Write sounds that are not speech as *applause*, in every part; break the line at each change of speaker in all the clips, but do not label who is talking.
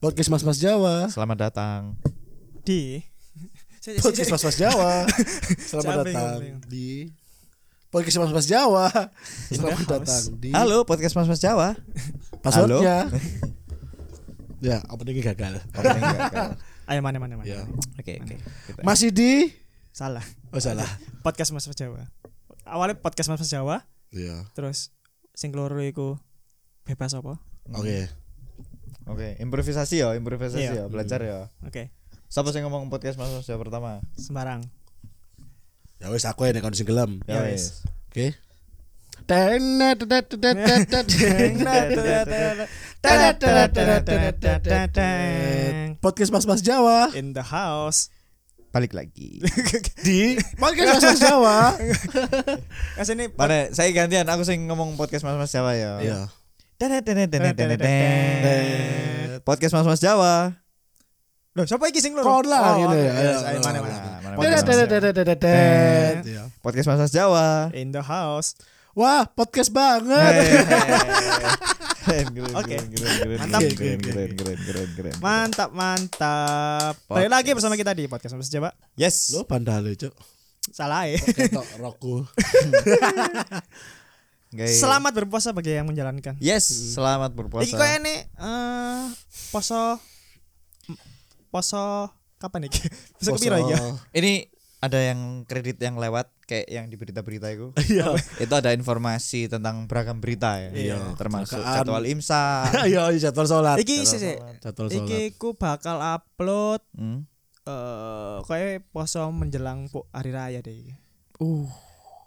Podcast Mas Mas Jawa.
Selamat datang.
di Saya- saya-
Podcast Mas Mas Jawa. Selamat
Capek,
datang
capek.
di Podcast Mas Mas Jawa. Selamat
house.
datang di
Halo podcast Mas Mas Jawa.
passwordnya. *laughs* Ya, openingnya gagal.
Oke, enggak, enggak.
ayo mana mana mana
Ya.
*laughs* Oke, oke. Kita-
Masih di
salah
Oh salah.
podcast Mas Mas Jawa awalnya podcast Mas Mas Jawa
Iya.
terus sing keloro iku bebas apa
Oke.
Oke, improvisasi ya, improvisasi
Iya.
ya, belajar ya.
oke
Siapa sih ngomong podcast Mas Mas Jawa pertama?
sembarang *laughs*
Ya wis aku yang kon sing gelem.
Ya
Ya wis.
wis.
Oke. Podcast Mas Mas Jawa
in the house
Balik *laughs* lagi.
di Podcast Mas Mas Jawa.
kas ini
Mana saya gantian aku sing ngomong podcast Mas Mas Jawa ya.
Iya.
Podcast Mas Mas Jawa.
loh siapa iki sing
Kon
keloro
lah
Oh,
gitu
oke,
ya.
yes,
Ayo,
ayo, mana
ayo,
mana
Nah, mana-
Podcast Mas Jawa.
Iya.
Podcast Mas Mas
*laughs*
Jawa.
in the house
Wah, podcast banget.
Keren, keren,
Oke.
keren, keren, keren,
Mantap.
keren, keren, keren, keren, keren.
mantap mantap balik lagi bersama kita di podcast Mas Mas Jawa
*laughs*
Yes.
Lo pandale, Cuk.
salah ya
Ketok rokku.
Guys.
selamat berpuasa bagi yang menjalankan
Yes, selamat berpuasa.
Iki kok ini eh poso poso kapan *laughs* iki? Poso kepiro iki? ya?
Ini ada yang kredit yang lewat kayak yang di berita-berita itu.
Iya.
itu ada informasi tentang beragam berita ya.
Iya.
Termasuk
Kecelakaan.
jadwal imsak.
*laughs* Iya, iya, jadwal sholat.
Iki sih sih.
Jadwal
Iki
sholat.
ku bakal upload
Hmm.
eh koyo poso menjelang po- hari raya deh iki.
Uh.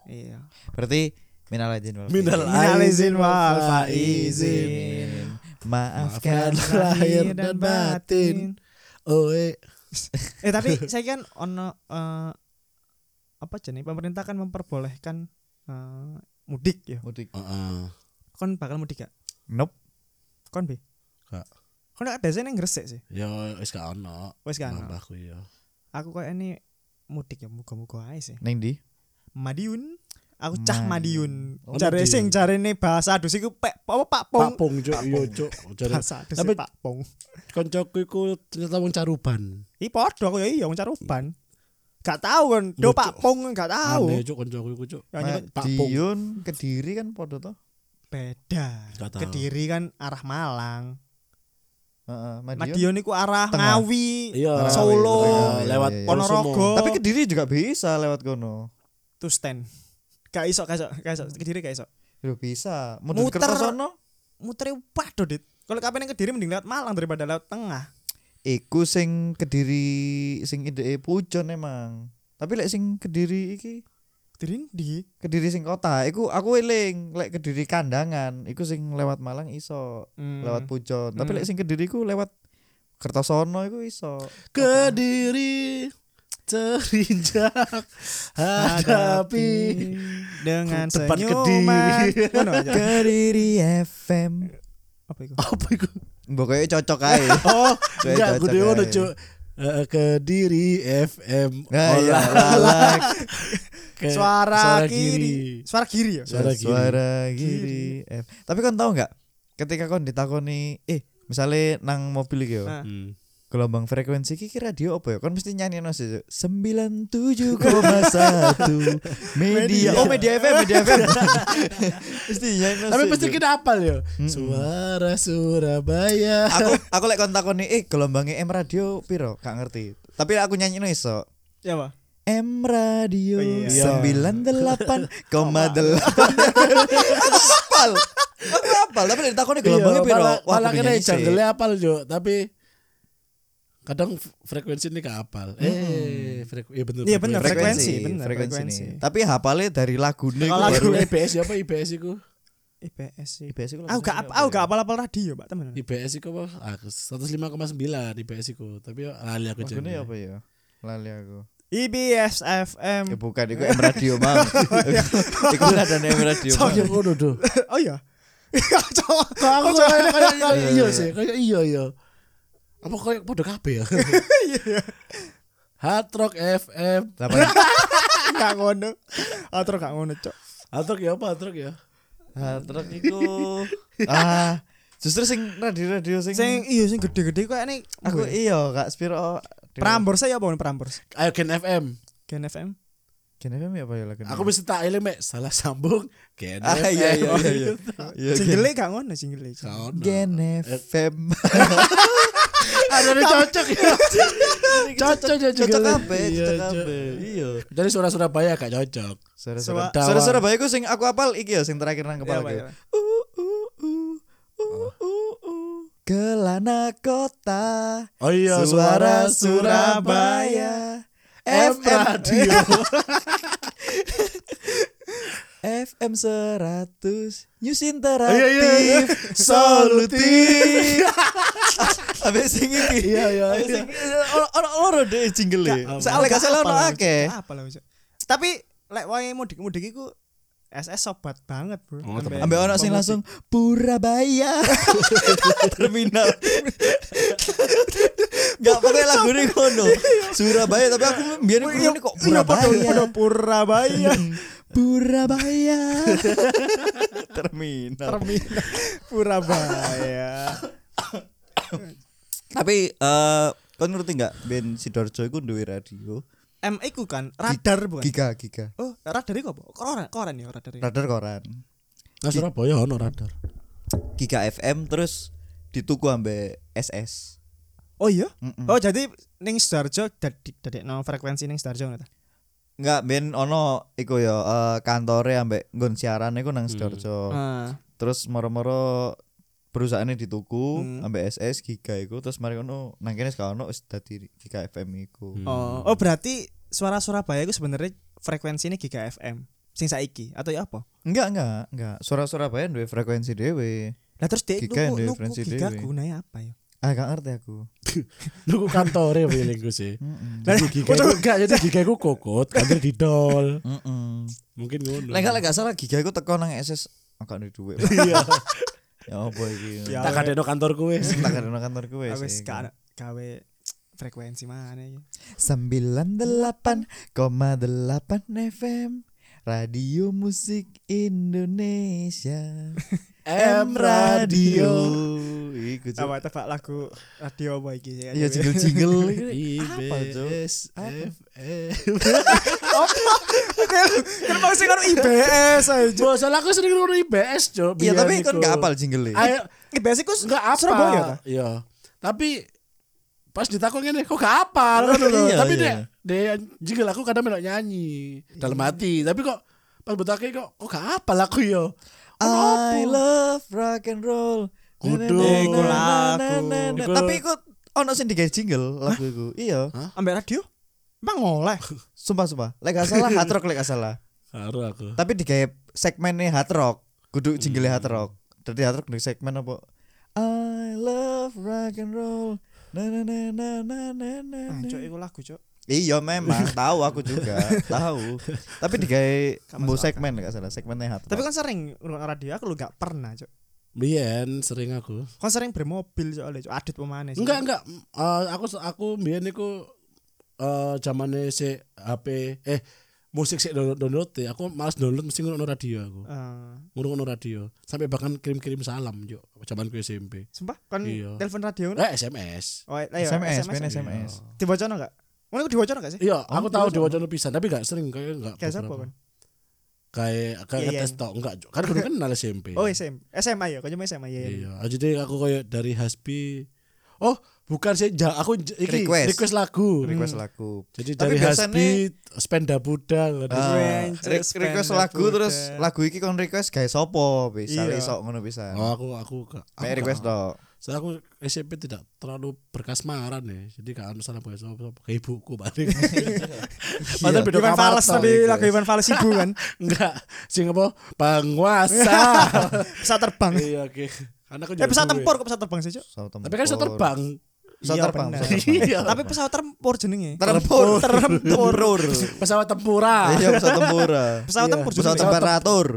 Iya.
Berarti minal aidin wal faizin.
Minal
Minal
aizin
izin
wal
wal
faizin.
Maafkan
Maafkan *laughs* lahir dan batin. Oe.
Eh tapi *laughs* saya kan ono eh apa jenis pemerintah kan memperbolehkan eh, mudik ya.
mudik.
Heeh.
Kon bakal mudik gak?
Nope.
Kon bi?
Gak.
Kon gak biasanya yang gresik sih.
Ya wis gak ono.
Wes kan.
Nambahku ya.
aku kayak ini mudik ya muga-muga ae sih
Neng di.
Madiun aku cah Madiun
Madiun. Oh,
cari
Madiun.
sing cari nih bahasa adus iku pek apa pak pong
Papung, Cuk. Yo, Cuk. Jare
bahasa adus
Tapi-
tapi pak pong
koncoku iku ternyata wong caruban.
i podo aku ya iya wong caruban gak tau kan
Bocok.
do pak pong gak tau
Aneh, Cuk, koncoku iku, Cuk.
Ya, nyebut
Pak Pung.
Madiun Kediri kan podo toh.
beda
Gak tau.
kediri kan arah Malang
Heeh, Madiun.
Madiun iku arah
Tengah.
Ngawi
Iya.
Solo.
lewat
Iya, iya, iya.
Ponorogo.
Tapi Kediri juga bisa lewat kono.
Tusten gak iso gak iso gak iso kediri gak iso
Lu bisa. Mudun
Muter.
Kertosono.
muter waduh dit kalau kapan yang kediri mending lewat Malang daripada lewat tengah
Iku sing Kediri sing ide pujon emang. Tapi lek sing Kediri iki
kediri di
Kediri sing kota, iku aku eling lek Kediri kandangan, iku sing lewat Malang iso, lewat Pujon. Tapi
Hmm.
lek sing Kediri iku lewat Kertosono iku iso.
Kediri terinjak hadapi
hadapi dengan
Depan
senyuman
Kediri.
Ngono aja.
Kediri FM.
apa itu
apa iku
Pokoknya cocok aja.
oh
Saya
enggak
cocok
gue dulu
aja.
cuk Oh, Eh, Kediri FM
Nah, iya,
olah
lalah.
ke-
suara, kiri. suara kiri ya
Suara
suara,
giri.
giri. F. Tapi kon tau nggak? Ketika kon ditakoni, eh misalnya nang mobil gitu,
Nah.
Hmm.
gelombang frekuensi kiki radio apa ya? Kon mesti nyanyi nasi sembilan tujuh koma satu media. Oh media FM, media FM. mesti nyanyi
tapi pasti
kita.
kita apal ya suara Surabaya
Aku aku lek kon takoni, eh gelombangnya M radio piro? Gak ngerti. Tapi aku nyanyi iso.
ya pak
M Radio
Oh, iya.
sembilan delapan koma delapan. Aku apal, aku apal. Tapi dari takutnya gelombangnya
Iya,
piro?
malah-
Wah,
malah
aku
kena
nyanyi sih.
jungle apal cuk tapi kadang f- frekuensi ini gak apal eh freku iya bener
Iya, bener,
frekuensi.
Frekuensi,
bener,
frekuensi.
frekuensi.
nih. Tapi hapalnya dari lagu nih.
Kalau
Baru
lagu-
IBS ya apa IBS iku
IPS sih
IBS itu
Ah, aku gak apa ya? aku gak apal apal radio pak teman
IBS iku apa ah, 105,9 IBS iku tapi lali aku
Lagunya
jenenge.
apa ya? Lali aku.
IBS FM
Ya bukan, itu M Radio *laughs* bang. Itu ada M Radio.
Oh,
Bang.
ya ngono do.
oh iya *laughs* Cowok.
*laughs* Kok aku
ya?
kayak kayak kayak iya sih, kayak iya iya. Apa kayak podo *laughs* kabeh ya? Hard Rock FM.
Apa?
gak ngono atau gak ngono cok
Hard Rock ya apa Hard Rock ya?
Hard rock itu. Ah, Justru sing radio-radio sing,
Sing iya sing gede-gede kok ini
aku
ya?
iya Kak Spiro.
Prambors saya apa Prambors?
Ayo Gen FM.
Gen FM.
Gen FM ya apa ya lagu?
Aku mesti tak eling Mek. salah sambung Gen
Ah
FM.
iya iya iya, iya. Iya. Gen-
Jingle e gak ngono jingle. Ya,
Sono.
Gen FM.
Ada yang cocok ya. *laughs* Cocok ya
Cocok
juga.
kabeh,
Iya,
cocok
cocok.
kabeh. Iya.
Dari suara Surabaya gak cocok. Suara-
Suara-suara. Suara-suara bae sing aku apal iki ya sing terakhir nang
Iya,
kepala
Pak,
aku.
iya, Pak.
Uh, uh, uh, uh, uh, uh. Kelana kota
Oh iya suara Surabaya.
FM
FM Radio.
FM 100 News
Iya,
Interaktif
iya, iya.
Solutif Habis sing iki
Iya iya.
Habis sing iki. Ono- ono- Ono deh jingle
Gak,
Soale gak salah ono akeh
Apa lah Mas. Tapi lek wae mudik-mudik iku SS sobat banget, Bro.
Oh, temen.
Ambil ono sing langsung
*laughs*
Purabaya Terminal Gak pakai lagu ini kono Surabaya tapi aku biar
Oh, iya,
ini kok Purabaya
*laughs* Purabaya.
Purabaya *laughs* Terminal
Terminal Purabaya.
Tapi eh kon ngerti nggak Ben Sidoarjo iku duwe radio?
M iku kan radar bukan?
Giga, giga.
Oh, radar iku apa? Koran, koran ya radar. iku.
Radar koran.
Nah Surabaya ono radar.
Giga FM terus dituku ambe SS.
Oh iya.
Mm-mm.
Oh, jadi ning Sidoarjo dadi dadekno frekuensi ning Sidoarjo ngono ta.
Enggak ben ono iku ya eh, kantore ambek nggon siaran iku nang Sidoarjo.
Ah.
Terus moro-moro perusahaannya dituku
Hmm.
ambek SS Giga iku terus mari ono nang kene gak ono wis dadi Giga FM iku.
Oh, oh berarti suara Surabaya itu sebenarnya frekuensinya giga FM. Sing saiki atau ya apa?
Enggak, enggak, enggak. Suara-suara bayan duwe frekuensi dhewe.
Lah terus dia
Giga
nuku
yang
nuku
frekuensi
giga
dhewe.
gunanya apa ya?
Ah, gak ngerti aku.
Lu ku kantore pilihku sih.
Heeh.
Jadi giga ku gak jadi giga ku kokot, kantor didol.
Heeh.
Mungkin ngono.
Lek lek gak salah giga iku teko nang SS agak duwe duit.
Iya.
Ya apa iki? Ya
Ya,
Tak kadeno kantorku wis.
*laughs* tak ada nang kantor kowe.
Aku wis gak gawe frekuensi mana ya?
98,8 FM Radio Musik Indonesia M Radio Iku Cuk.
Apa tebak lagu radio apa iki ya?
Iya
*laughs*
jingle-jingle Apa, Cuk?
IBS FM.
Kan mau sing karo IBS aja.
Bo, soalnya aku sering ngono IBS, Cuk.
Iya
biar
tapi
iku.
kan gak apal jingle
Ayo
IBS iku
enggak apa.
Surabaya ta?
Iya. Tapi pas ditakon ngene kok gak apal ngono lho.
Iya,
Tapi
iya.
dek dek jingle aku kadang melok nyanyi dalam hati. Tapi kok pas butake kok kok gak apal aku yo.
I love rock and roll
Kudu.
Iku lagu.
Iku-
Tapi iku ono sing digawe jingle lagu iku Iya
ambek radio. Emang oleh.
Sumpah sumpah Lek gak salah hard rock lek gak salah
Karo aku.
Tapi digawe segmennya hard rock.
Hmm.
Kudu jingle hard rock. Dadi hard rock di segmen apa? I love rock and roll. Na na na na na na na.
Ah,
na.
Cuk, iku lagu, Cuk.
Iya
*laughs*
memang tahu aku juga tahu. Tapi digawe
Gak
mbo
masuk
segmen gak salah segmennya hard
Tapi
rock.
kan sering ngurung radio aku lu gak pernah, Cuk.
Biyen sering aku.
Kan sering bermobil soalnya, Cuk. Adit pemane sih.
Enggak enggak. Eh, aku aku biyen niku eh zamane si HP eh musik sik download, download ya. Aku males download mesti ngono radio aku.
Eh,
Ngono radio. Sampai bahkan kirim-kirim salam yo zaman ku SMP.
sumpah kan
Iya.
telepon radio
Eh SMS.
Oh, ayo,
SMS, ben SMS.
Dibocono enggak? Ngono iku dibocono enggak sih?
Iya, aku
Oh,
tahu
terus
di Wacana pisan, tapi gak sering kayak gak.
Kayak siapa
beberapa.
kan?
Kayak kayak
Iya, iya.
tes tok enggak. Kan
*laughs*
kudu kenal SMP.
Oh, SM. SMA ya, kok cuma SMA ya.
Iya, ah, jadi aku kayak dari Hasbi. Oh, bukan sih, ja, aku j- iki,
Request.
request. lagu.
Request lagu.
Jadi
Tapi
dari
biasanya-
Hasbi Spenda Buddha nggak ada.
Ah,
Rangers,
re- request
Panda
lagu
Buddha.
terus lagu iki kon request gawe sopo bisa
Iya.
iso ngono bisa.
Oh, aku aku gak.
Mek
aku
request
gak-
tok.
Soalnya aku SMP tidak terlalu berkasmaran ya. Jadi gak anu salah bahasa apa ke ibuku
*laughs*
paling. Padahal beda
Ivan
kamar
Iya. Fals
tok.
tadi lagu Ivan Fals ibu kan.
Enggak, sing apa?
*laughs*
Penguasa.
Pesawat terbang.
Iya, oke. Karena aku
Eh
jual
pesawat
duit.
tempur kok pesawat terbang sih, Cuk?
Tapi kan bisa terbang.
Pesawat
Iya,
terbang.
*laughs* bener.
pesawat terbang.
Iya.
Tapi pesawat tempur jenenge. *laughs*
Terempur,
*laughs*
*laughs* terempur.
pesawat ah. tempura.
Iya,
Iya.
pesawat tempur.
Pesawat tempur ya?
Pesawat
jenenge.
temperatur.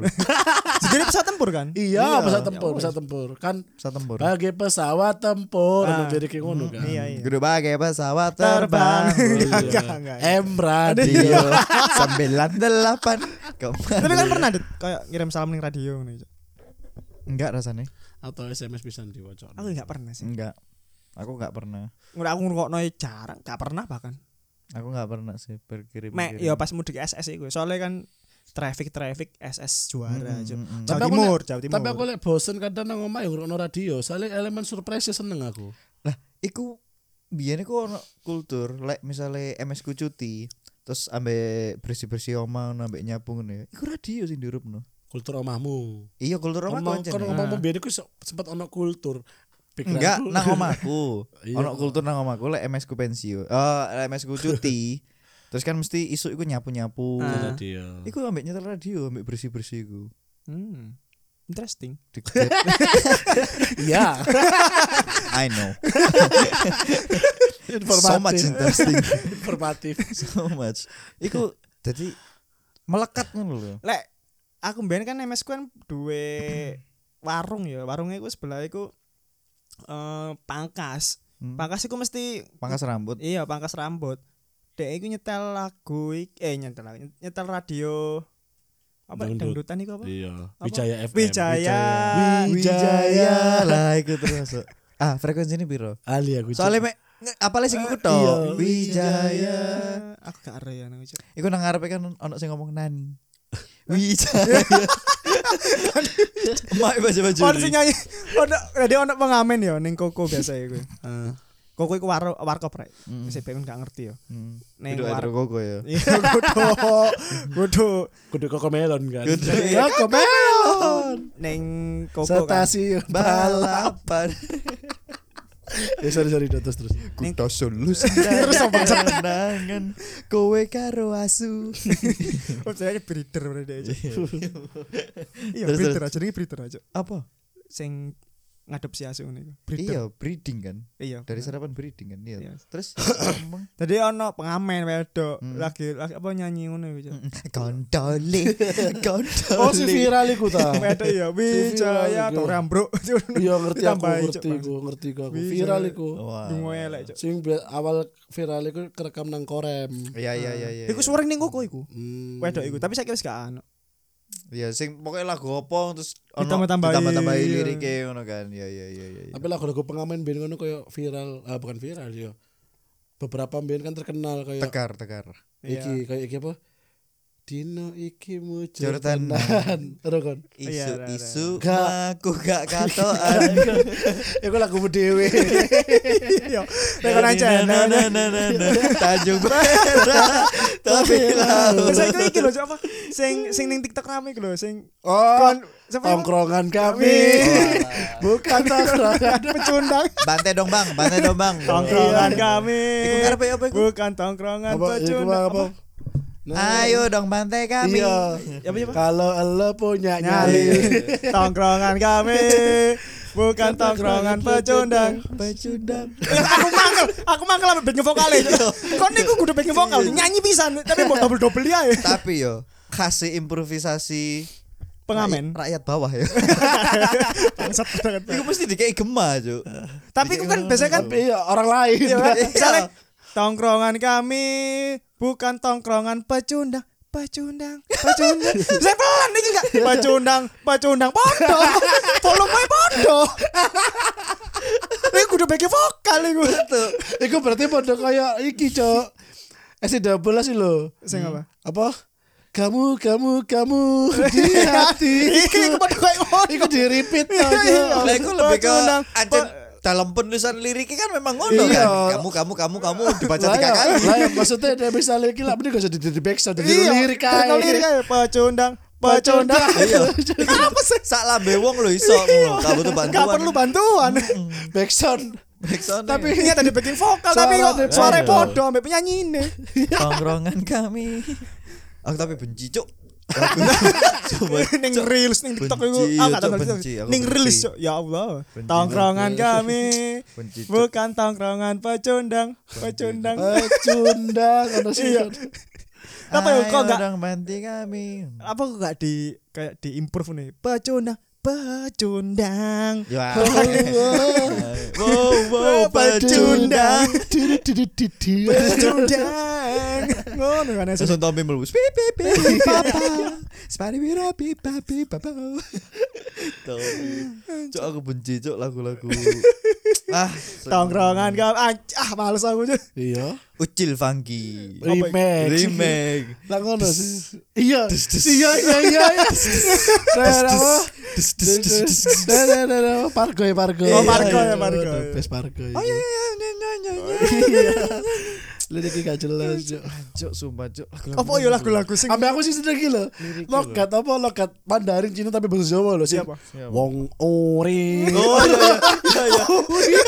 Jadi pesawat tempur kan? Ya
Iya,
Iya.
pesawat tempur, pesawat tempur. Kan
Pesawat tempur.
Iya.
bagi pesawat tempur Iya.
Ah.
nah. jadi kayak ngono kan. Oh,
Iya, iya.
Gede bagai pesawat
Terbang.
terbang.
*laughs* Enggak, enggak, enggak. iya.
M
*laughs*
radio.
Radio Iya. sembilan delapan.
Tapi kan pernah Dit, kayak ngirim salam ning radio ngono, Cuk.
Enggak rasanya.
atau SMS bisa diwacok.
aku nggak pernah sih
Enggak. Aku enggak pernah.
udah aku ngerokok jarang nggak pernah bahkan
Aku enggak pernah sih
Iya,
berkirim.
Mek, ya pas mudik SS itu soalnya kan traffic traffic SS juara Jawa- Jawa
Tapi aku
Timur Jawa Timur
Tapi aku lek bosen kadang nang omah ya ngrungokno radio, soalnya elemen surprise seneng aku.
Iku biyen iku ono kultur lek misale MS ku cuti terus ambek bersih-bersih oma ono ambek nyapu ngono ya. Iku radio sing dirupno.
Kultur omahmu.
Iya kultur oma
Omah-
koncen.
Kon
ya.
ngomong biar iku sempat ono kultur. Pikiranku-
*laughs* Enggak nang omaku.
*laughs* Iya.
ono kultur nang omaku lek MS ku pensiun. Eh lek MS ku
*laughs*
cuti. terus kan mesti isu iku nyapu-nyapu.
Ah.
Radio.
Iku ambek nyetel radio ambek bersih-bersih
*laughs*
iku.
hmm. interesting
Dikdet.
*laughs*
Iya. *laughs*
I know. So much
Informatif. *laughs*
interesting.
Informatif.
so much. Iku jadi melekat ngono lho.
lek aku mbien kan MS ku kan duwe warung ya warungnya ku sebelah iku eh pangkas
Hmm.
pangkas iku mesti
Pangkas rambut.
iya pangkas rambut dek iku nyetel lagu ik- eh nyetel lagu, nyetel radio apa
Dangdut.
dangdutan iku apa
Iya.
Apa?
Wijaya FM.
Wijaya
Iya, Wijaya lah iku terus. *laughs* Ah, frekuensi ini piro?
Ali aku. Cuk.
Soalnya mek nge- apalagi sing iku
Eh, iya.
tok. Ah, Wijaya.
aku gak arep ya nang ucap.
Iku nang ngarepe kan ono sing ngomong nani. *laughs* Wijaya. Mak baca-baca.
Ono sing nyanyi ono ada ono pengamen ya ning koko biasa iku. Heeh. Koko iku war warkop rek. Sing pengen gak ngerti ya. Ning
Itu ada
war
koko ya.
Iya, *laughs* kudu kudu
Kudu koko melon kan.
Kudu
koko melon.
ning koko kan.
Stasiun balap.
*laughs* Balapan.
*laughs* Ya sorry sorry terus
*laughs*
terus.
Kudosun lu Kenangan Kowe karo asu
Oh, jenenge breeder berarti aja. *laughs* Iya,
Terus,
breeder aja jenenge breeder aja.
Apa?
Sing ngadep si asu ngene iku. Breeder.
Iya breeding kan
Iya.
Dari sarapan breeding kan
Iya.
Iya *clears throat* Terus
Jadi ono pengamen wedok
Hmm.
lagi lagi apa nyanyi ngono iku. Cok. *laughs*
Gondole Gondole
Oh si viral iku ta.
Hmm.
Wedok
*laughs*
ya
viral
wijaya
iku.
orang bro. *laughs*
Iya ngerti aku
Ditambahin, Cuk, Oh,
ngerti iku ngerti iku aku. Viral iku.
Wah.
Dungo elek, Cok.
Sing bi- awal viral iku kerekam nang korem.
Iya iya iya iya
Nah. Iku suara ning koko iku.
Hmm.
Wedok iku, tapi saya kira gak ano.
Iya sing pokoknya lagu opong Terus ono-
Ditambah-tambahin.
Ditambah-tambahin
Iya.
liriknya ngono kan Iya iya iya iya
Tapi lagu-lagu pengamen band ngono koyo viral, ah bukan viral yo. Beberapa band kan terkenal
ya?
koyo
Tekar tekar
iki koyo iki apa? Dino iki mu *laughs*
Jordanan.
Jordanan. Terus kan.
Iya, iya, iya.
Isu-isu
Gak.
Aku gak
*laughs*
katoan
Iku lagu *laughs* dewe.
*laughs* Iya. Nek
Na,
ana channel.
na, na, na, na.
Iya. *laughs*
Tanjung Perak Tapi laut
Saya kira iki lho Cok, apa? Sing sing ning TikTok rame iku lho, sing
Ah,
Oh,
kon siapa iku?
tongkrongan kami. *laughs* Bukan tongkrongan.
pecundang.
Bantai dong bang, bantai dong bang.
Tongkrongan
Iya.
kami.
Iku ngarepe apa iku?
Bukan tongkrongan
Apa iku
pecundang.
apa? Nah,
Ayo dong bantai kami.
Iya.
Apa, apa?
Kalau elo punya
Nyali.
nyali.
Tongkrongan kami. Bukan Kan tongkrongan pecundang.
Pecundang.
aku mangkel, aku mangkel sampe backing vokal. Kon niku kudu backing vokal, nyanyi pisan tapi mbok double-double e. ya.
Tapi yo kasih improvisasi
Pengamen.
rakyat bawah ya.
Bangsat banget.
Iku mesti dikei gema Cuk.
Tapi aku kan biasanya kan
Tapi ya orang lain.
Iya, kan?
Iya.
Misalnya, tongkrongan kami bukan tongkrongan pecundang, pecundang, pecundang. Saya pelan ini enggak pecundang, pecundang podo. Volume podo. Ini kudu bagi vokal ini gue.
Iku berarti pada kayak iki, Cok. Eh, double sih lo.
Sing apa?
Apa? Kamu, kamu,
*laughs*
kamu di hati.
Iki pada kayak ngono.
Iya, Iku di repeat Cok.
Iya,
Iya. Lah iku lebih ke
Pecundang.
ancen
Pe-
dalam penulisan liriknya kan memang ngono
Iya.
kan. Kamu kamu kamu kamu dibaca
Lah,
tiga
iya.
ya.
kali.
Lah, ya, maksudnya dia bisa lirik lah, mending gak usah di di backstage, di
Iya,
lirik aja.
terkenal lirik aja. Pecundang, pecundang.
Iya. Apa sih? Sak lambe wong lho iso. Kamu tuh bantuan.
Iya. Gak perlu bantuan.
*laughs* Backsound.
Backsound-nya.
Tapi iya tadi backing vokal tapi kok
Suaranya
suara
podo.
podo ambek penyanyi ini.
tongkrongan kami. Aku tapi benci cuk. Coba
*laughs* ning reels ning TikTok iku.
Benci,
Ah,
Cuk,
gak tahu TikTok.
benci, aku
Ning
benci.
reels Cuk. ya Allah.
Benci, ya.
Tongkrongan
benci.
kami
benci cuk.
bukan tongkrongan pecundang, pecundang.
Pecundang ono sih.
Iya. Apa ya, kok
Ayo
nggak-
dong bantu kami.
Apa kok gak di kayak di improve nih? Pecundang, pecundang.
Ya.
Wow, Oh, wow, pecundang.
Pecundang.
Pecundang. Ngono kan
Terus
Yesus.
Tommy mlebu. Pi pi pi papa. Spider-Man, pi, pa, pi, papa. Cok aku benci cok lagu-lagu.
*laughs*
ah,
Tongkrongan kamu Anj- ah males aku cuy.
Iya.
Ucil funky.
Remake. *laughs*
Remake.
Lah ngono sih. Iya.
Des, des.
Iya iya iya. *laughs* iya. nah, Dan apa?
Des,
nah,
des, des, des, des.
Dan dan dan apa? nah, Pargo ya pargo.
Oh, Pargo ya, Pargo.
Aduh, Best pargo.
Oh iya
iya.
iya iya iya iya,
Iya. Liriknya gak jelas. Cuk.
iya. Cok sumpah cok. Lagu-lagu
Apa yo lagu-lagu sing
Sampai aku sih sedih gila. Logat apa logat Mandarin Cina tapi bahasa Jawa loh sih.
Siapa?
Wong ori.
Oh iya iya iya.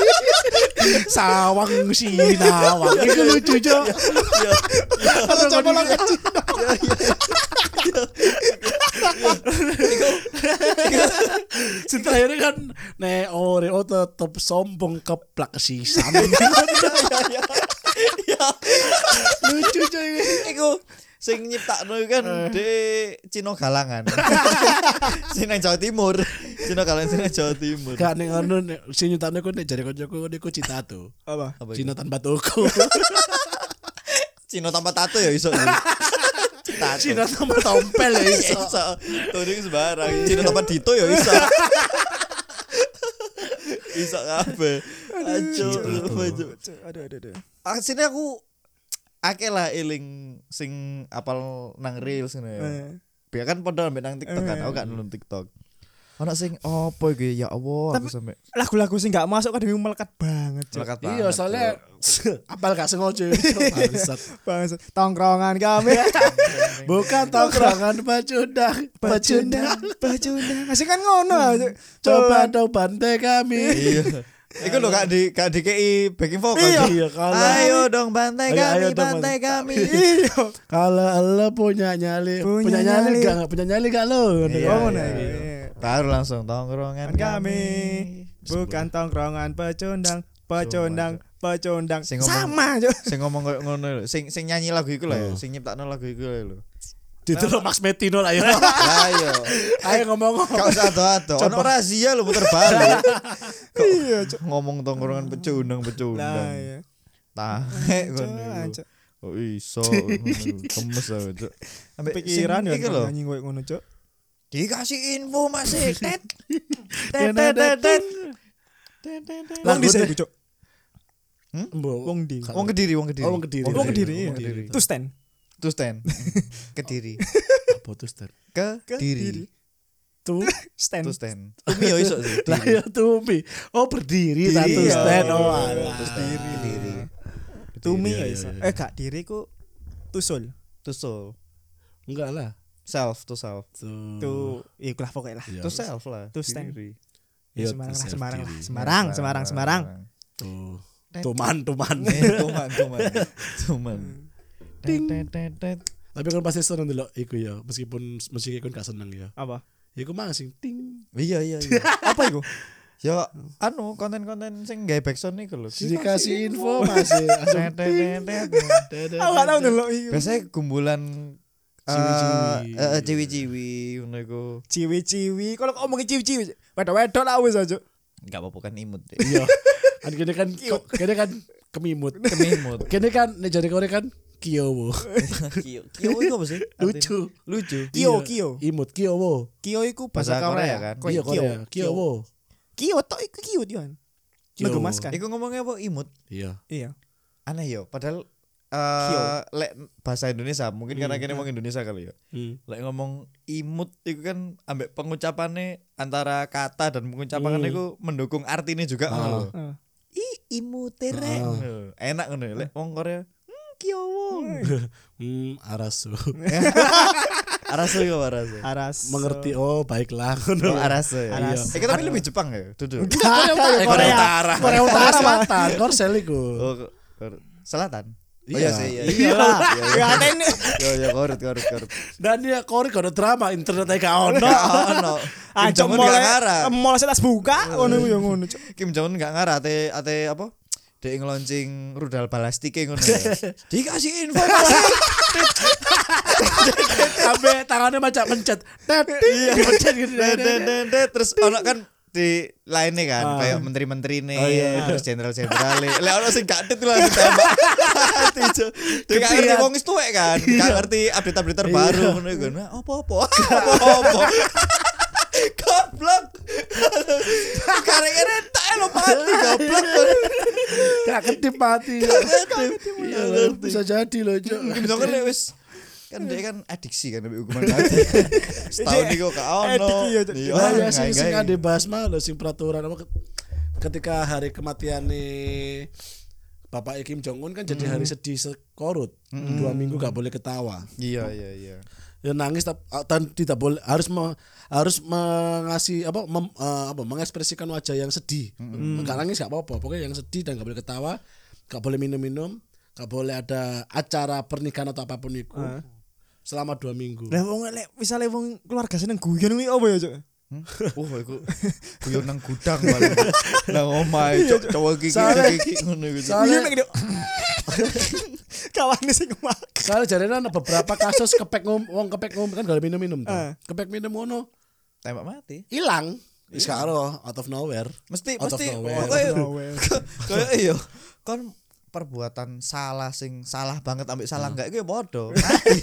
Sawang sinawang. Itu lucu Cuk.
iya.
Kalau coba lagu
Sing terakhir kan ne ore oh tetep sombong keplak *laughs* sisan. *laughs* Lucu coy.
Iku sing nyiptakno iku kan
Eh.
de Cino
*laughs*
Galangan. Sing nang Jawa Timur. Cino Galangan sing nang Jawa Timur.
Gak ning ngono nek sing nyutane ku nek jare kancaku niku cita tuh.
apa?
Apa iku?
Cina tanpa *laughs* toko.
Cino tanpa tato ya iso. Tato.
*laughs* Cina tanpa tompel ya iso.
iya, iso. Tuding sembarang. Cino tanpa dito ya iso. Iso kabeh. Ajo, ajo.
Cuk, Aduh aduh aduh.
Asine aku akeh lah eling sing apal nang reels ngene ya.
Eh.
Biar kan padha ambek nang TikTok kan, aku gak nonton TikTok. Ono sing opo iki ya Allah aku
Tapi-
sampe
Lagu-lagu sing gak masuk kadang melekat banget cuy.
melekat banget.
Iya soalnya apal gak sengaja. Bangsat.
Bangsat. Tongkrongan kami.
Iya,
*laughs*
Bukan tongkrongan pacundang, pacundang.
Pacundang, pacundang. Masih kan ngono
Hmm.
aja.
Coba dong bantai kami.
Iya. Iku lho gak di gak dikei backing vocal.
Iya.
kalau
Ayo dong bantai
Ayo, ayo
kami,
dong,
bantai kami.
Iya.
kalau lo punya nyali,
Punya
punya, nyali,
nyali.
gak punya nyali gak lo? kan?
Iya,
Oh, ngono
iya,
iki.
iya. Baru langsung tongkrongan
Kan kami bukan tongkrongan pecundang, pecundang, pecundang.
Sing ngomong-
Sama aja.
sing ngomong koyo ngono lho, sing sing nyanyi lagu iku lho ya, sing nyiptakno lagu iku lho.
Itu lo Max Metino lah ya.
*laughs* Lah iya. yo.
Ayo ngomong.
Kau satu ado Ono rahasia lho puter *laughs* balik. Iya, ngomong tongkrongan pecundang
Lah
pecundang.
iya.
Tah,
Cuk,
ngono.
cuk.
Oh iso, ngono. kemes aku cuk. Ambek
Pikiran
sing
ya
iki lho.
nyanyi koyo ngono, Cuk.
Dikasih info *laughs* masih tet.
Tet, tet, tet, tet.
Wong
Lagu
di
teh.
sini, Cuk.
Wong
Wong di.
Wong Kediri, wong Kediri.
Oh, wong Kediri.
Wong Kediri, iya.
Kediri.
Tuh stand.
Terus ten. *laughs* Kediri.
putus ter.
*laughs* Kediri.
*laughs*
Tuh.
Stand.
Terus ten. Umi yo iso sih.
Lah ya Tumi. Oh berdiri tak
Diri,
tuh
ya.
stand oh. alah.
Terus Kediri.
Tumi
Iya,
ya iso.
iya, iya.
Eh gak diriku tusul.
Terus so.
Enggak lah.
Self, to self.
Tuh.
Tuh, iku lah pokoknya lah.
Ya,
To self lah. Nah,
To stand.
Kediri.
ya,
Semarang lah,
self
Semarang lah.
diri.
Semarang, Semarang, Semarang.
Tuh. Tuman,
*laughs*
tuman.
Eh, tuman, *laughs* tuman. Tuman.
Ting.
Tet, tet, tet.
Tapi kan pasti seneng dulu iku ya, meskipun musik iku gak seneng ya.
Apa?
Iku mah sing ting.
Iya, iya, *laughs* iya.
Apa iku?
Ya anu konten-konten sing gawe backsound niku lho.
Dikasih info
*laughs*
masih.
Tet, tet, tet, tet.
Aku Ah, gak tau dulu iku.
Biasanya kumpulan
Ciwi-ciwi.
eh, eh, ciwi-ciwi ngono iku.
Ciwi-ciwi, kalau kok ngomongin ciwi-ciwi, wedok-wedok lah wis aja.
Enggak apa-apa kan imut deh. *laughs*
Iya. Kan kene kan kene kan kemimut.
Kemimut.
Kene kan nek jare kore kan kiyowo.
Kio, kio itu apa sih? Artinya?
Lucu.
Lucu.
Kio,
Iya.
kio.
Imut kiyowo.
Kio iku
Bahasa
bahasa
Korea
Korea
kan?
Koyo
Iya
kio.
Korea. Kiyowo.
Kio tok iku kio dian.
Kio.
Ngegemaskan.
*laughs* Iku ngomongnya apa imut?
Iya.
Iya.
Aneh yo, padahal
Kio.
eh lek bahasa Indonesia mungkin karena
Hmm.
kene wong Indonesia kali ya.
Hmm. *laughs*
Lek ngomong imut iku kan ambek pengucapannya antara kata dan pengucapan
Hmm.
iku mendukung artinya juga
Ah.
ngono lho.
Heeh.
i imute rek
Ah.
Ngono. enak ngono ya, lek wong Korea hmm kiowo
Hmm, arasu.
arasu ya arasu
Aras.
Mengerti oh baiklah.
oh arasu ya
Arasu.
Eh, tapi lebih Jepang ya duduk
Korea
Eh,
Korea Utara
Korea Utara Selatan, Korsel iku.
oh Ko- Kor- selatan Oh,
Iya.
sih iya
Iya lah. Ya ini
yo yo korut korut korut
Dan ya Korea gak ada drama internet aja gak ono.
no no Kim
aja
Jong Un gak
mulai
ngarah
mulai setas buka ngono iku ya ngono. Cuk.
Kim Jong Un gak ngarah ate ate apa dia ngeluncing rudal balastike ngono ya. dikasih
*laughs*
informasi
Sampai tangannya macam mencet. Tet, ting,
Iya.
dipencet gitu.
Ded, ded, ded, ded. terus ono kan di lainnya kan
Ah.
kayak menteri-menteri nih
Oh, iya,
terus jenderal-jenderal lek ono sing gak dit lah *laughs* ditembak Mati, Jo. Dia gak ngerti
Kesian.
wong wis tuwek kan
Iya.
gak ngerti *laughs* update-update terbaru ngono iku. Nah, opo-opo opo-opo goblok *laughs*
mati. Iya, loh, bisa jadi loh, Cok.
Mungkin kan lek wis kan dia kan adiksi kan lebih hukuman mati.
*laughs*
Setahun
Jadi,
niku gak ono.
edik iya, Cuk.
Iya,
Lah ya sing
ngai-ngai.
sing ade bahas mah lho sing peraturan apa ke- ketika hari kematian nih Bapak Kim Jong Un kan jadi hari sedih sekorut dua minggu gak boleh ketawa
Iya iya iya.
ya nangis tap- dan tidak boleh harus me- harus mengasih apa mem- eh, apa mengekspresikan wajah yang sedih nggak nangis nggak apa-apa pokoknya yang sedih dan nggak boleh ketawa nggak boleh minum-minum nggak boleh ada acara pernikahan atau apapun itu selama dua minggu
*laughs* Lah wong lek misale wong keluarga seneng guyon kuwi apa ya, Cuk?
Oh,
Wah, iku *laughs* guyon Hmm? nang gudang paling.
*laughs*
Nang omah cok cowok gigi
Soalnya-
gigi ngono iku, Cuk.
soalnya
Guyon nek *laughs* Kawane sing mak.
Soalnya jarene ana beberapa kasus kepek ngom, wong kepek ngom kan gak ada minum-minum tuh.
Ah.
Kepek minum ngono
Tembak mati.
hilang. Wis karo out of nowhere.
Mesti
Out of
mesti
nowhere.
pokoknya *laughs* Kayak iya Kan perbuatan salah sing salah banget ambil salah
Hmm.
enggak iku ya bodoh. Mati.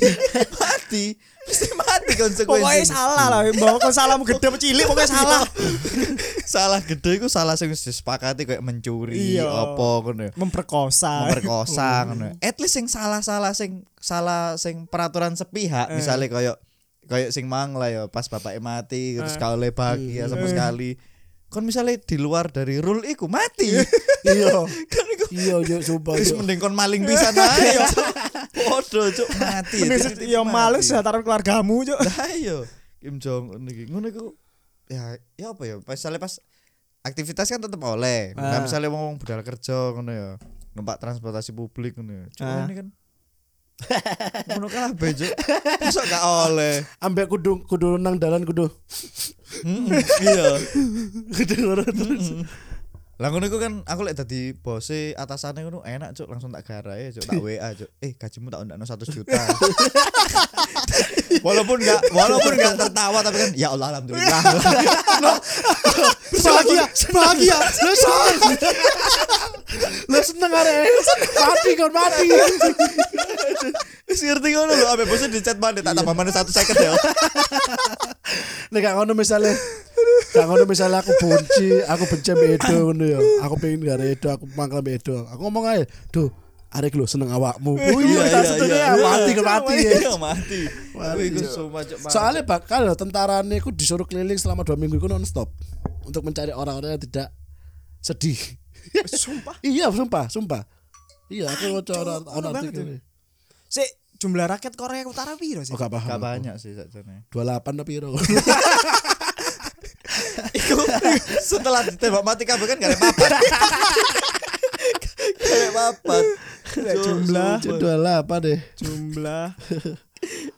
*laughs* mati. Mesti mati
Pokoknya
konsekuensi.
salah lah, bawa kon salahmu gede apa cilik pokoknya salah.
*laughs* salah gede iku salah sing wis disepakati kayak mencuri
Iya.
apa ngono ya.
Memperkosa.
memperkosa ngono. At least sing salah-salah sing salah sing peraturan sepihak
Eh.
misalnya koyo koyo sing mang lah ya pas bapaknya mati
Eh.
terus gak oleh bahagia sama sekali. Kon misalnya di luar dari rule iku mati.
Iya.
kan iku
Iya yo sumpah.
wis *laughs*
yo.
mending kon maling pisan ae.
*laughs*
Waduh, cuk mati. ya,
*laughs* Mending
cuk.
se- Ya maling sejahtera keluargamu, Cuk. *laughs*
Lah iya. Kim Jong Un iki ngono iku ya ya apa ya misalnya pas aktivitas kan tetep oleh. Nah,
Ah.
misalnya wong wong budal kerja ngono ya. Numpak transportasi publik ngono ya. Cuma
Ah.
ini kan ngono kalah bejo. Masa gak oleh.
Ambek kudu kudu nang dalan kudu.
Mm-mm, Hmm, Iya.
Kudu loro terus.
Lah ngono iku kan aku lek dadi bose atasane ngono enak cuk langsung tak garae cuk tak WA cuk. Eh gajimu tak undakno 100 juta. walaupun gak walaupun gak tertawa tapi kan ya Allah alhamdulillah.
Bahagia, bahagia.
Lah seneng arek. Mati kon mati.
Wis ngerti ngono lho, abe bosan di chat mana tak tambah mana satu second ya.
Nek gak ngono misale Gak ngono misalnya aku benci, aku benci sama Edo ngono ya. Aku pengen gak ada Edo, aku mangkel sama Edo. Aku ngomong aja, "Duh, arek lo seneng awakmu." Oh mati kon mati. ya.
Iya, mati. Wih, iku sumpah cuk. mati.
Soalnya bakal loh, tentara ini aku disuruh keliling selama dua minggu itu nonstop untuk mencari orang-orang yang tidak sedih. *laughs*
Sumpah.
iya, sumpah, sumpah. Iya, aku mau orang
ono
orang
banget ya. Sik jumlah rakyat Korea Utara piro sih?
Oh, gak paham.
gak banyak sih sakjane.
Dua delapan tapi *laughs* ya.
Iku setelah ditembak mati kabeh kan gak ada papat. Kayak papat. Cuk,
jumlah.
sumpah.
Dua delapan deh.
Jumlah.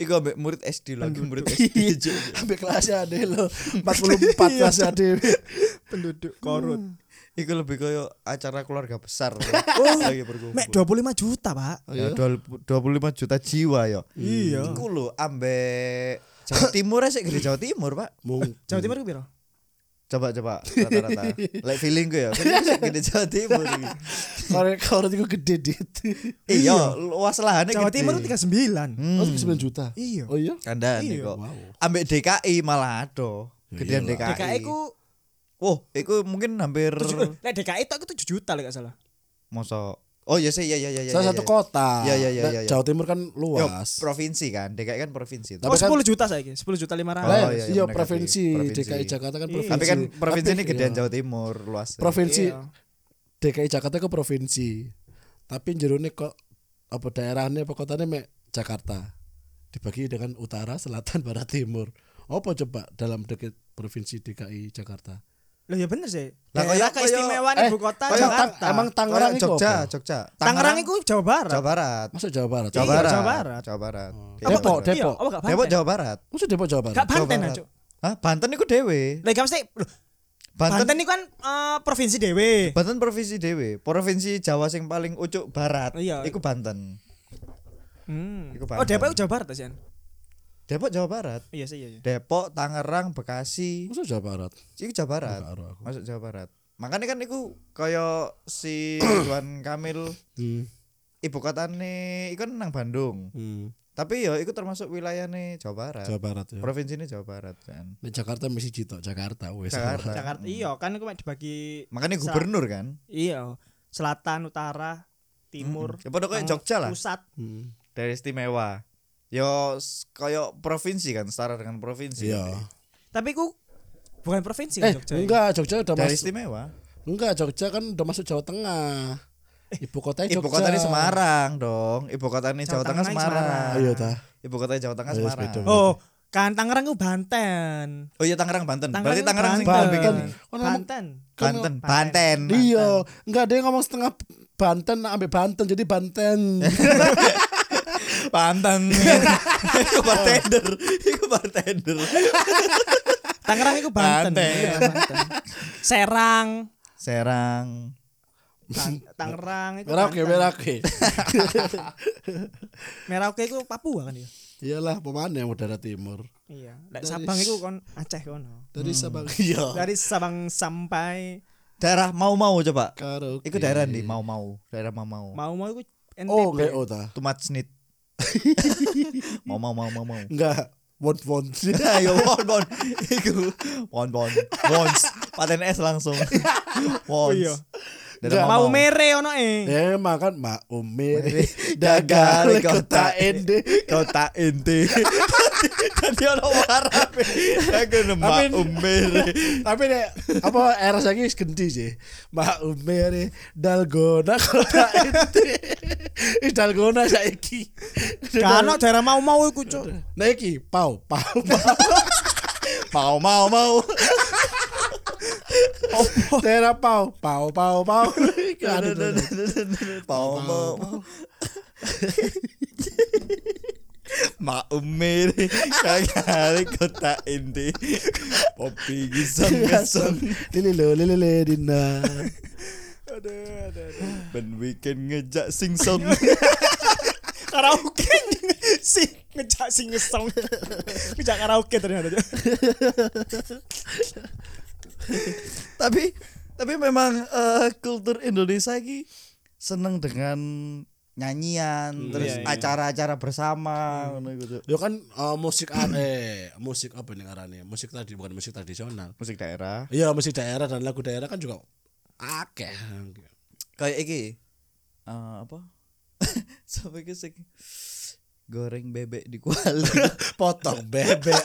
Iku ambek murid SD lagi murid SD.
Iya,
Cuk.
Sampai
ya,
kelasnya ada lo, empat ya, puluh
Iya,
empat kelasnya ada.
penduduk korut.
Hmm. Iku lebih koyo acara keluarga besar.
*laughs* Oh, iya.
Lagi berkumpul.
Mek 25 juta, Pak.
Ya, 25 juta jiwa ya.
Iya.
Iku lho ambek Jawa Timur sih gede Jawa Timur, Pak.
Mung,
Jawa Timur ku piro?
coba coba rata-rata like feeling gue ya kan gede Jawa Timur ini.
korek korek itu gede dit.
iya luas lahannya
Jawa
gede. Hmm.
Timur ku 39.
Oh, sembilan juta.
Iya.
Oh iya.
kandang
Iya.
kok
Wow. Iya
ambek DKI malah ado gedean
Iyalah.
DKI
DKI E ku
oh iku mungkin hampir
tujuh- Lek DKI E tok ku 7 juta lek gak salah.
mosok oh iya sih iya iya iya
Salah
iya,
satu
iya.
kota.
Iya, iya, iya,
Nah,
iya, iya.
Jawa Timur kan
Yo,
luas.
provinsi kan DKI kan provinsi
Tapi
oh,
kan-
10 juta saiki, 10 juta
Oh,
500.
Lah,
iya,
iya,
iya, bener,
provinsi,
provinsi.
DKI Jakarta kan
Iya.
provinsi.
tapi kan provinsi ini
gede
gedean Jawa Timur luas
Provinsi
Iya.
DKI Jakarta ke provinsi. Tapi jerone kok apa daerahnya apa kotanya mek Jakarta. Dibagi dengan utara, selatan, barat, timur. Apa coba dalam deket provinsi DKI Jakarta?
Loh ya bener sih.
Lah,
Daerah
kayak-
keistimewaan
eh,
kayak-
ibu kota
kayak
Jakarta.
Eh, Tang- emang Tangerang itu
Jogja
apa?
Jogja
Tangerang iku Jawa Barat.
Jawa Barat
Masa Jawa Barat?
Jawa
Iya,
Barat
Jawa Barat.
Jawa Barat Iya,
Depok,
Jawa Barat.
Depok.
Iya, apa gak
Depok
Banten?
Jawa Barat
Masa Depok Jawa Barat?
Gak Banten
Jawa
ah,
Barat.
Cuk.
Hah, Banten iku dhewe.
Lek gak mesti loh,
Banten
Banten iku kan eh, provinsi dhewe.
Banten provinsi dhewe. Provinsi Jawa sing paling ucuk barat.
Iya.
Iku Banten.
Hmm.
Iku
Oh,
Banten.
Depok iku Jawa Barat sih.
Depok Jawa Barat.
Iya sih, iya iya.
Depok, Tangerang, Bekasi.
Masa Jawa Barat?
Iku Jawa Barat.
Gak ero aku.
Masuk Jawa Barat. Makanya kan iku kaya si
*coughs*
Ridwan Kamil
Hmm.
ibu kotane iku kan nang Bandung.
hmm.
Tapi ya iku termasuk wilayahnya Jawa Barat.
Jawa Barat ya.
Provinsi ini Jawa Barat kan.
Nek Jakarta mesti Cito, Jakarta wes.
Jakarta.
Jakarta iya kan iku mek dibagi
Makanya
Sa-
gubernur kan.
iya selatan utara timur,
Ya padha koyo Jogja lah.
pusat.
*laughs* Hmm.
Dari istimewa. Yo s- koyo provinsi kan, setara dengan provinsi.
Iya.
Tapi ku bukan provinsi
Eh,
kan Jogja.
enggak, Jogja udah
Dari
masuk.
istimewa.
Enggak, Jogja kan udah masuk Jawa Tengah. Ibu kota Jogja.
Ibu kota ini Semarang dong. Ibu kota ini
Eh, Jawa
Jawa, Tengah
Tengah,
Semarang.
Semarang.
Ayo Iya, ta.
Ibu kota Jawa Tengah
Ayo,
Semarang.
sepeda.
Oh, kan Tangerang ku Banten.
Oh iya Tangerang Banten.
Tangerang
Berarti
ku
Tangerang sing
Banten.
bikin
Oh, ngomong-
Banten.
Banten. Banten.
Iya, enggak dia ngomong setengah Banten nak ambil Banten jadi
*laughs*
Banten. *laughs*
Banten.
Iya.
Iku bartender. Iku bartender.
Tangerang itu Banten.
Banten.
Iya, Banten. Serang,
Serang.
Tan- Tangerang itu
Merauke, merauke.
Merauke itu Papua kan ya?
Iyalah, pemane udara timur.
Iya. Dari Sabang itu kon Aceh kono.
Dari
Hmm.
Sabang. Iya.
Dari Sabang sampai
Daerah mau-mau coba.
Karaoke.
Iku daerah di mau-mau. Daerah mau-mau.
mau mau itu NTB.
Oh, enggak oh ta.
Tumat
*laughs*
snit. mau mau mau mau mau. *laughs*
Enggak. Want want. *laughs*
Ayo bon bon. Iku bon bon. Wons. Paten S
*laughs*
langsung. Wons.
iya.
Daerah
mau mere ono e.
Eh makan mak umir
*laughs* Dagali
dagal kota
kota
ende.
*laughs* kota *laughs* inti jadi ono warap aku
Amin.
nembak umir
Tapi nek apa era saiki wis genti sih. Mak umir dalgona kota ende. Wis dalgona saiki.
Kano daerah mau mau iku cuk.
Nah iki pau pau pau.
mau mau mau
Daerah pau pau pau pau. Iki *laughs* *laughs* aduh, aduh, aduh.
mau mau *laughs* Mak umir kagak kota inti Popi
*laughs*
gisong gisong
Lili lo lili le dina.
Ben weekend ngejak sing
*laughs*
song
Karaoke *laughs* si ngejak sing ngesong. *laughs* Ngejak karaoke ternyata. Cuk.
Tapi tapi memang eh, kultur Indonesia ini seneng dengan nyanyian terus
iya.
acara-acara bersama ngono gitu.
Yo kan eh, musik ar- eh musik apa nih ngarannya? Musik tadi bukan musik tradisional.
musik daerah
Iya musik daerah dan lagu daerah kan juga akeh.
kayak iki eh, apa *laughs* sampai ke sing goreng bebek di kuali
Potong bebek.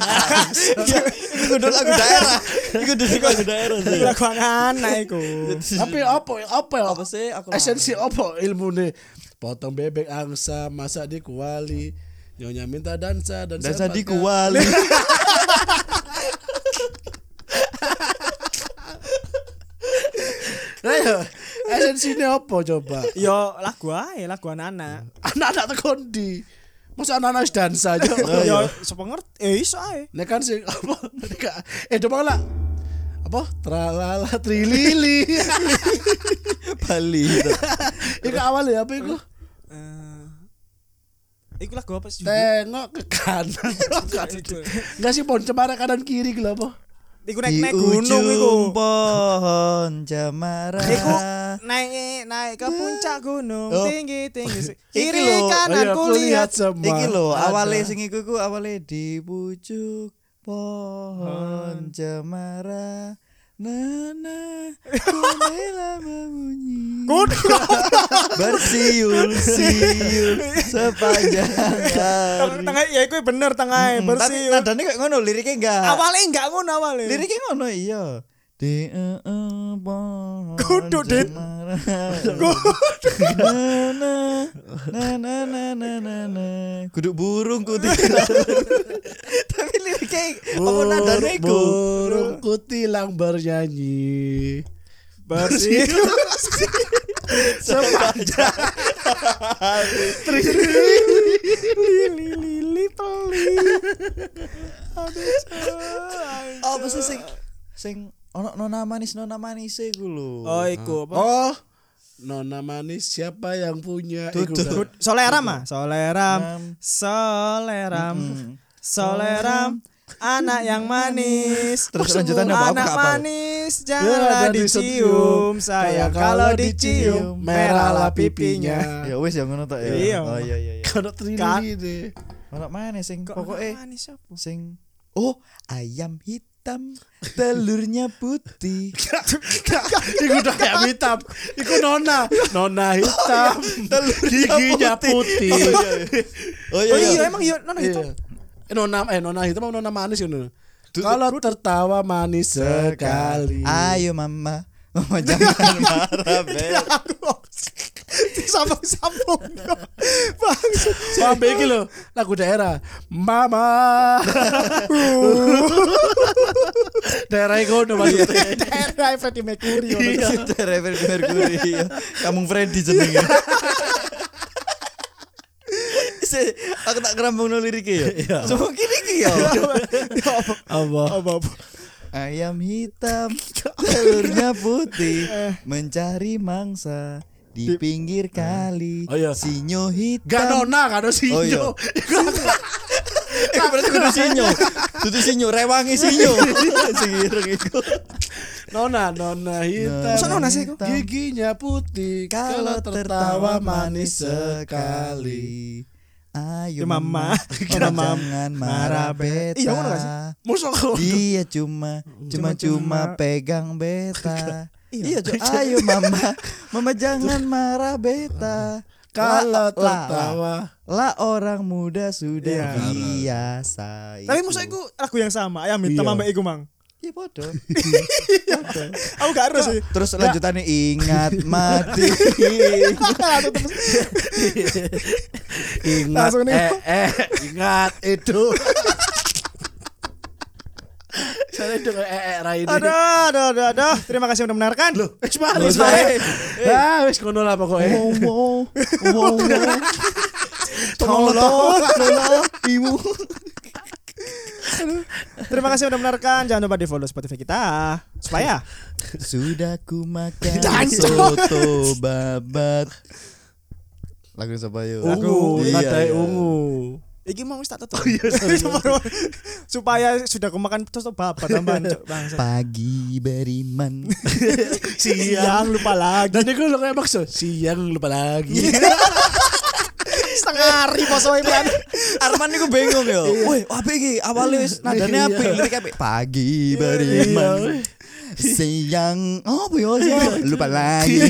*laughs* itu udah lagu daerah itu udah lagu daerah sih
Lagu anak iku.
Iya.
Tapi apa apa ya?
apa sih aku
Esensi apa ilmu nih? Potong bebek angsa, masak di kuali. Nyonya minta dansa dan
dan jadi kuali
Ayo, iya, esensinya apa *laughs* coba?
Yo lagu ae, lagu anak-anak.
Anak-anak tekondi. Masa anak-anak dansa
Nah,
aja.
iya.
Yo sapa ngerti? Eh iso ae.
Nek kan sing apa? Nek- Eh coba lah. Apa? Tralala *laughs* trilili.
Bali
Iku awal ya apa iku?
Eh, Iku lagu apa sih? judul?
Tengok ke
*laughs*
kanan.
Iya,
Enggak sih pohon cemara kanan kiri gitu apa?
Iku
di
naik-naik gunung iku.
ujung pohon cemara
Iku naik naik ke puncak gunung
Oh.
tinggi tinggi
Iki
kiri
lho, Oh, iya,
kanan
Ayo,
ku Iya, lihat
semua.
Iki lho
Ada.
awale sing iku iku awale di pucuk pohon cemara Nana kulela membunyi *laughs* Bersiul siul sepanjang hari
Teng- tengah ya iku bener tengah
Hmm, Tapi Ah.
bersih
nadanya kayak ngono liriknya enggak
awalnya enggak ngono awalnya
Liriknya ngono iya di eh, eh, pohon
Kudu, Dit.
cemara. Na, na, na, na, na, na, na, na. Kudu burung kudu. Tapi liriknya
Oh,
apa nadanya iku?
burung kutilang bernyanyi
bersih *laughs*
Sepanjang.
lili lili teli aduh cah.
Apa sih sing sing ono nona manis nona manis iku lho.
oh iku apa
oh nona manis siapa yang punya Iku
Tutut.
kan.
soleram ah soleram
Ram.
soleram
Mm.
soleram anak yang manis
Terus lanjutannya apa? Apa
anak
kapal?
manis janganlah
Ya, dan
dicium sayang kalau dicium merahlah pipinya Kan?
Ya wis ya ngono tok ya.
Iya.
Oh iya iya iya.
Kalau trilili deh
Ono manis sing
Kok anak
pokoke
manis apa?
sing oh ayam hitam hitam, telurnya
*laughs*
putih.
Kan?
Iku udah kayak hitam. Iku nona, nona
Oh,
hitam.
iya.
Giginya putih.
Oh
Oh iya emang iya nona itu.
Iya. Eh, nona eh nona hitam apa nona manis ya nona? Kalau tertawa manis sekali.
Ayo mama, *laughs* mama jangan
*laughs*
marah beb.
Disambung-sambung. Bang.
Sampai iki lho, lagu daerah. Mama. daerah iku nona Mas.
*laughs* Daerah Freddie Mercury. *laughs* ngono.
Iya. Reverend Mercury. iya. Kamu Freddy jenenge. Se, aku tak kerambung no liriknya ya.
Oh,
Semua kini iki ya.
Apa?
Apa-apa.
Ayam hitam, telurnya putih, mencari mangsa Eh. di Eh. pinggir kali.
Oh, iya.
Sinyo hitam.
Gak nona, gak ada
Oh, iya.
sinyo.
Eh, berarti kudu sinyo. Dudu sinyo, rewangi *laughs* sinyo. Sing ireng iku.
Nona, nona hitam.
Masa nona sih iku?
Giginya putih kalau tertawa manis sekali.
Ayo
Ya,
mama,
Mama.
mama
Mama.
jangan marah beta.
Iya, ngono gak sih?
Musuh kok.
Dia cuma cuma cuma
Cuma-cuma.
pegang beta. Iya, Cuk. ayo mama, mama jangan marah beta.
Kalau
La- la-
tertawa.
lah orang muda
Iya.
sudah biasa.
Tapi musuh iku lagu yang sama, ayam hitam
Iya.
ambek iku, Mang.
Iya bodoh.
Aku gak harus sih.
Terus lanjutannya ingat mati.
Ingat
Langsung nih.
eh, eh ingat itu. Saya dengar eh eh Rai ini.
Aduh, aduh, aduh, aduh. Terima kasih sudah mendengarkan. Loh,
Eh, Ismail, Ismail.
eh,
Ah, wis ngono lah pokoknya.
Wow, wow, wow, wow.
Tolong.
Tolong, tolong, ibu.
Terima kasih sudah mendengarkan. Jangan lupa di follow Spotify kita *laughs* supaya
Sudah ku makan
Jancok.
soto babat. Lagu siapa yuk?
Ungu,
Iya,
katai
iya.
ungu.
Iki mau wis tak
Oh,
tutup.
iya,
supaya sudah kemakan terus babat tambahan Cuk. bangsa.
Pagi beriman.
Siang lupa lagi.
Dan itu lo kayak maksud Iya. siang lupa lagi.
Setengah hari posoe kan.
Arman niku bingung ya. Woi, apa iki? Awale wis nadane
Iya.
apik, lirik apik. Pagi beriman. Siang, oh ya siang? Lupa lagi.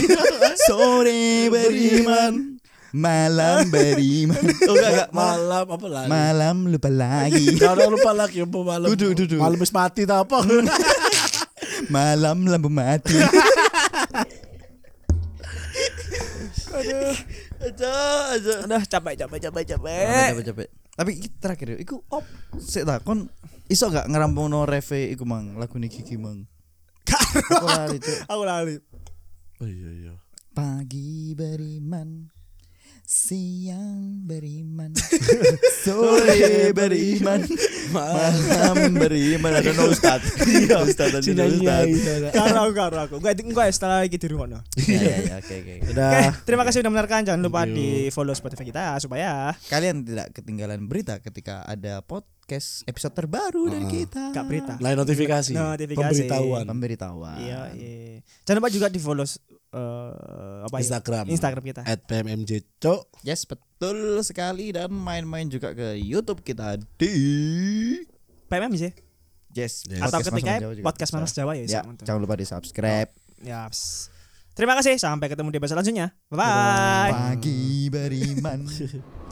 Sore beriman. Malam beriman. Oh enggak enggak. Malam,
Malam apa lagi?
malam lupa
*laughs*
lagi.
Jangan lupa lagi apa malam.
Duduk, duduk. Hmm.
Malam wis mati ta apa?
*laughs*
Eh.
Malam lampu mati.
Udah capek capek capek capek.
Capek-capek. Tapi iki terakhir yuk, iku op sik ta kon iso gak ngerampungno reve iku mang lagu niki iki mang. Aku lali, Cuk.
Aku lali.
Oh iya iya.
Pagi beriman Siang
*laughs*
beriman
Oh, iya,
Sore beriman Malam beriman Ada no ustad Iya ustad ada no ustad
iya,
Karo karo aku. Gue gue setelah iki di rumah.
Iya iya iya, oke oke
Oke,
Udah.
terima kasih sudah mendengarkan. Jangan lupa di follow Spotify kita supaya
Kalian tidak ketinggalan berita ketika ada podcast episode terbaru dari kita
Kak Berita.
Nah, Lain notifikasi.
Notifikasi.
Ah. Pemberitahuan.
Pemberitahuan
Iya, iya. Jangan lupa juga di follow eh apa ya?
Instagram.
Instagram kita.
At PMMJ Cok.
Yes betul sekali Dan main-main juga ke Youtube kita di
PMM sih.
Yes,
Yes.
Atau
Podcast Mas
ketika
Mas Jawa juga
podcast
bisa.
Mas Jawa ya. bisa
Ya,
nonton.
jangan lupa di subscribe
Yaps. Terima kasih. Sampai ketemu di episode selanjutnya. Bye. *laughs*
Pagi beriman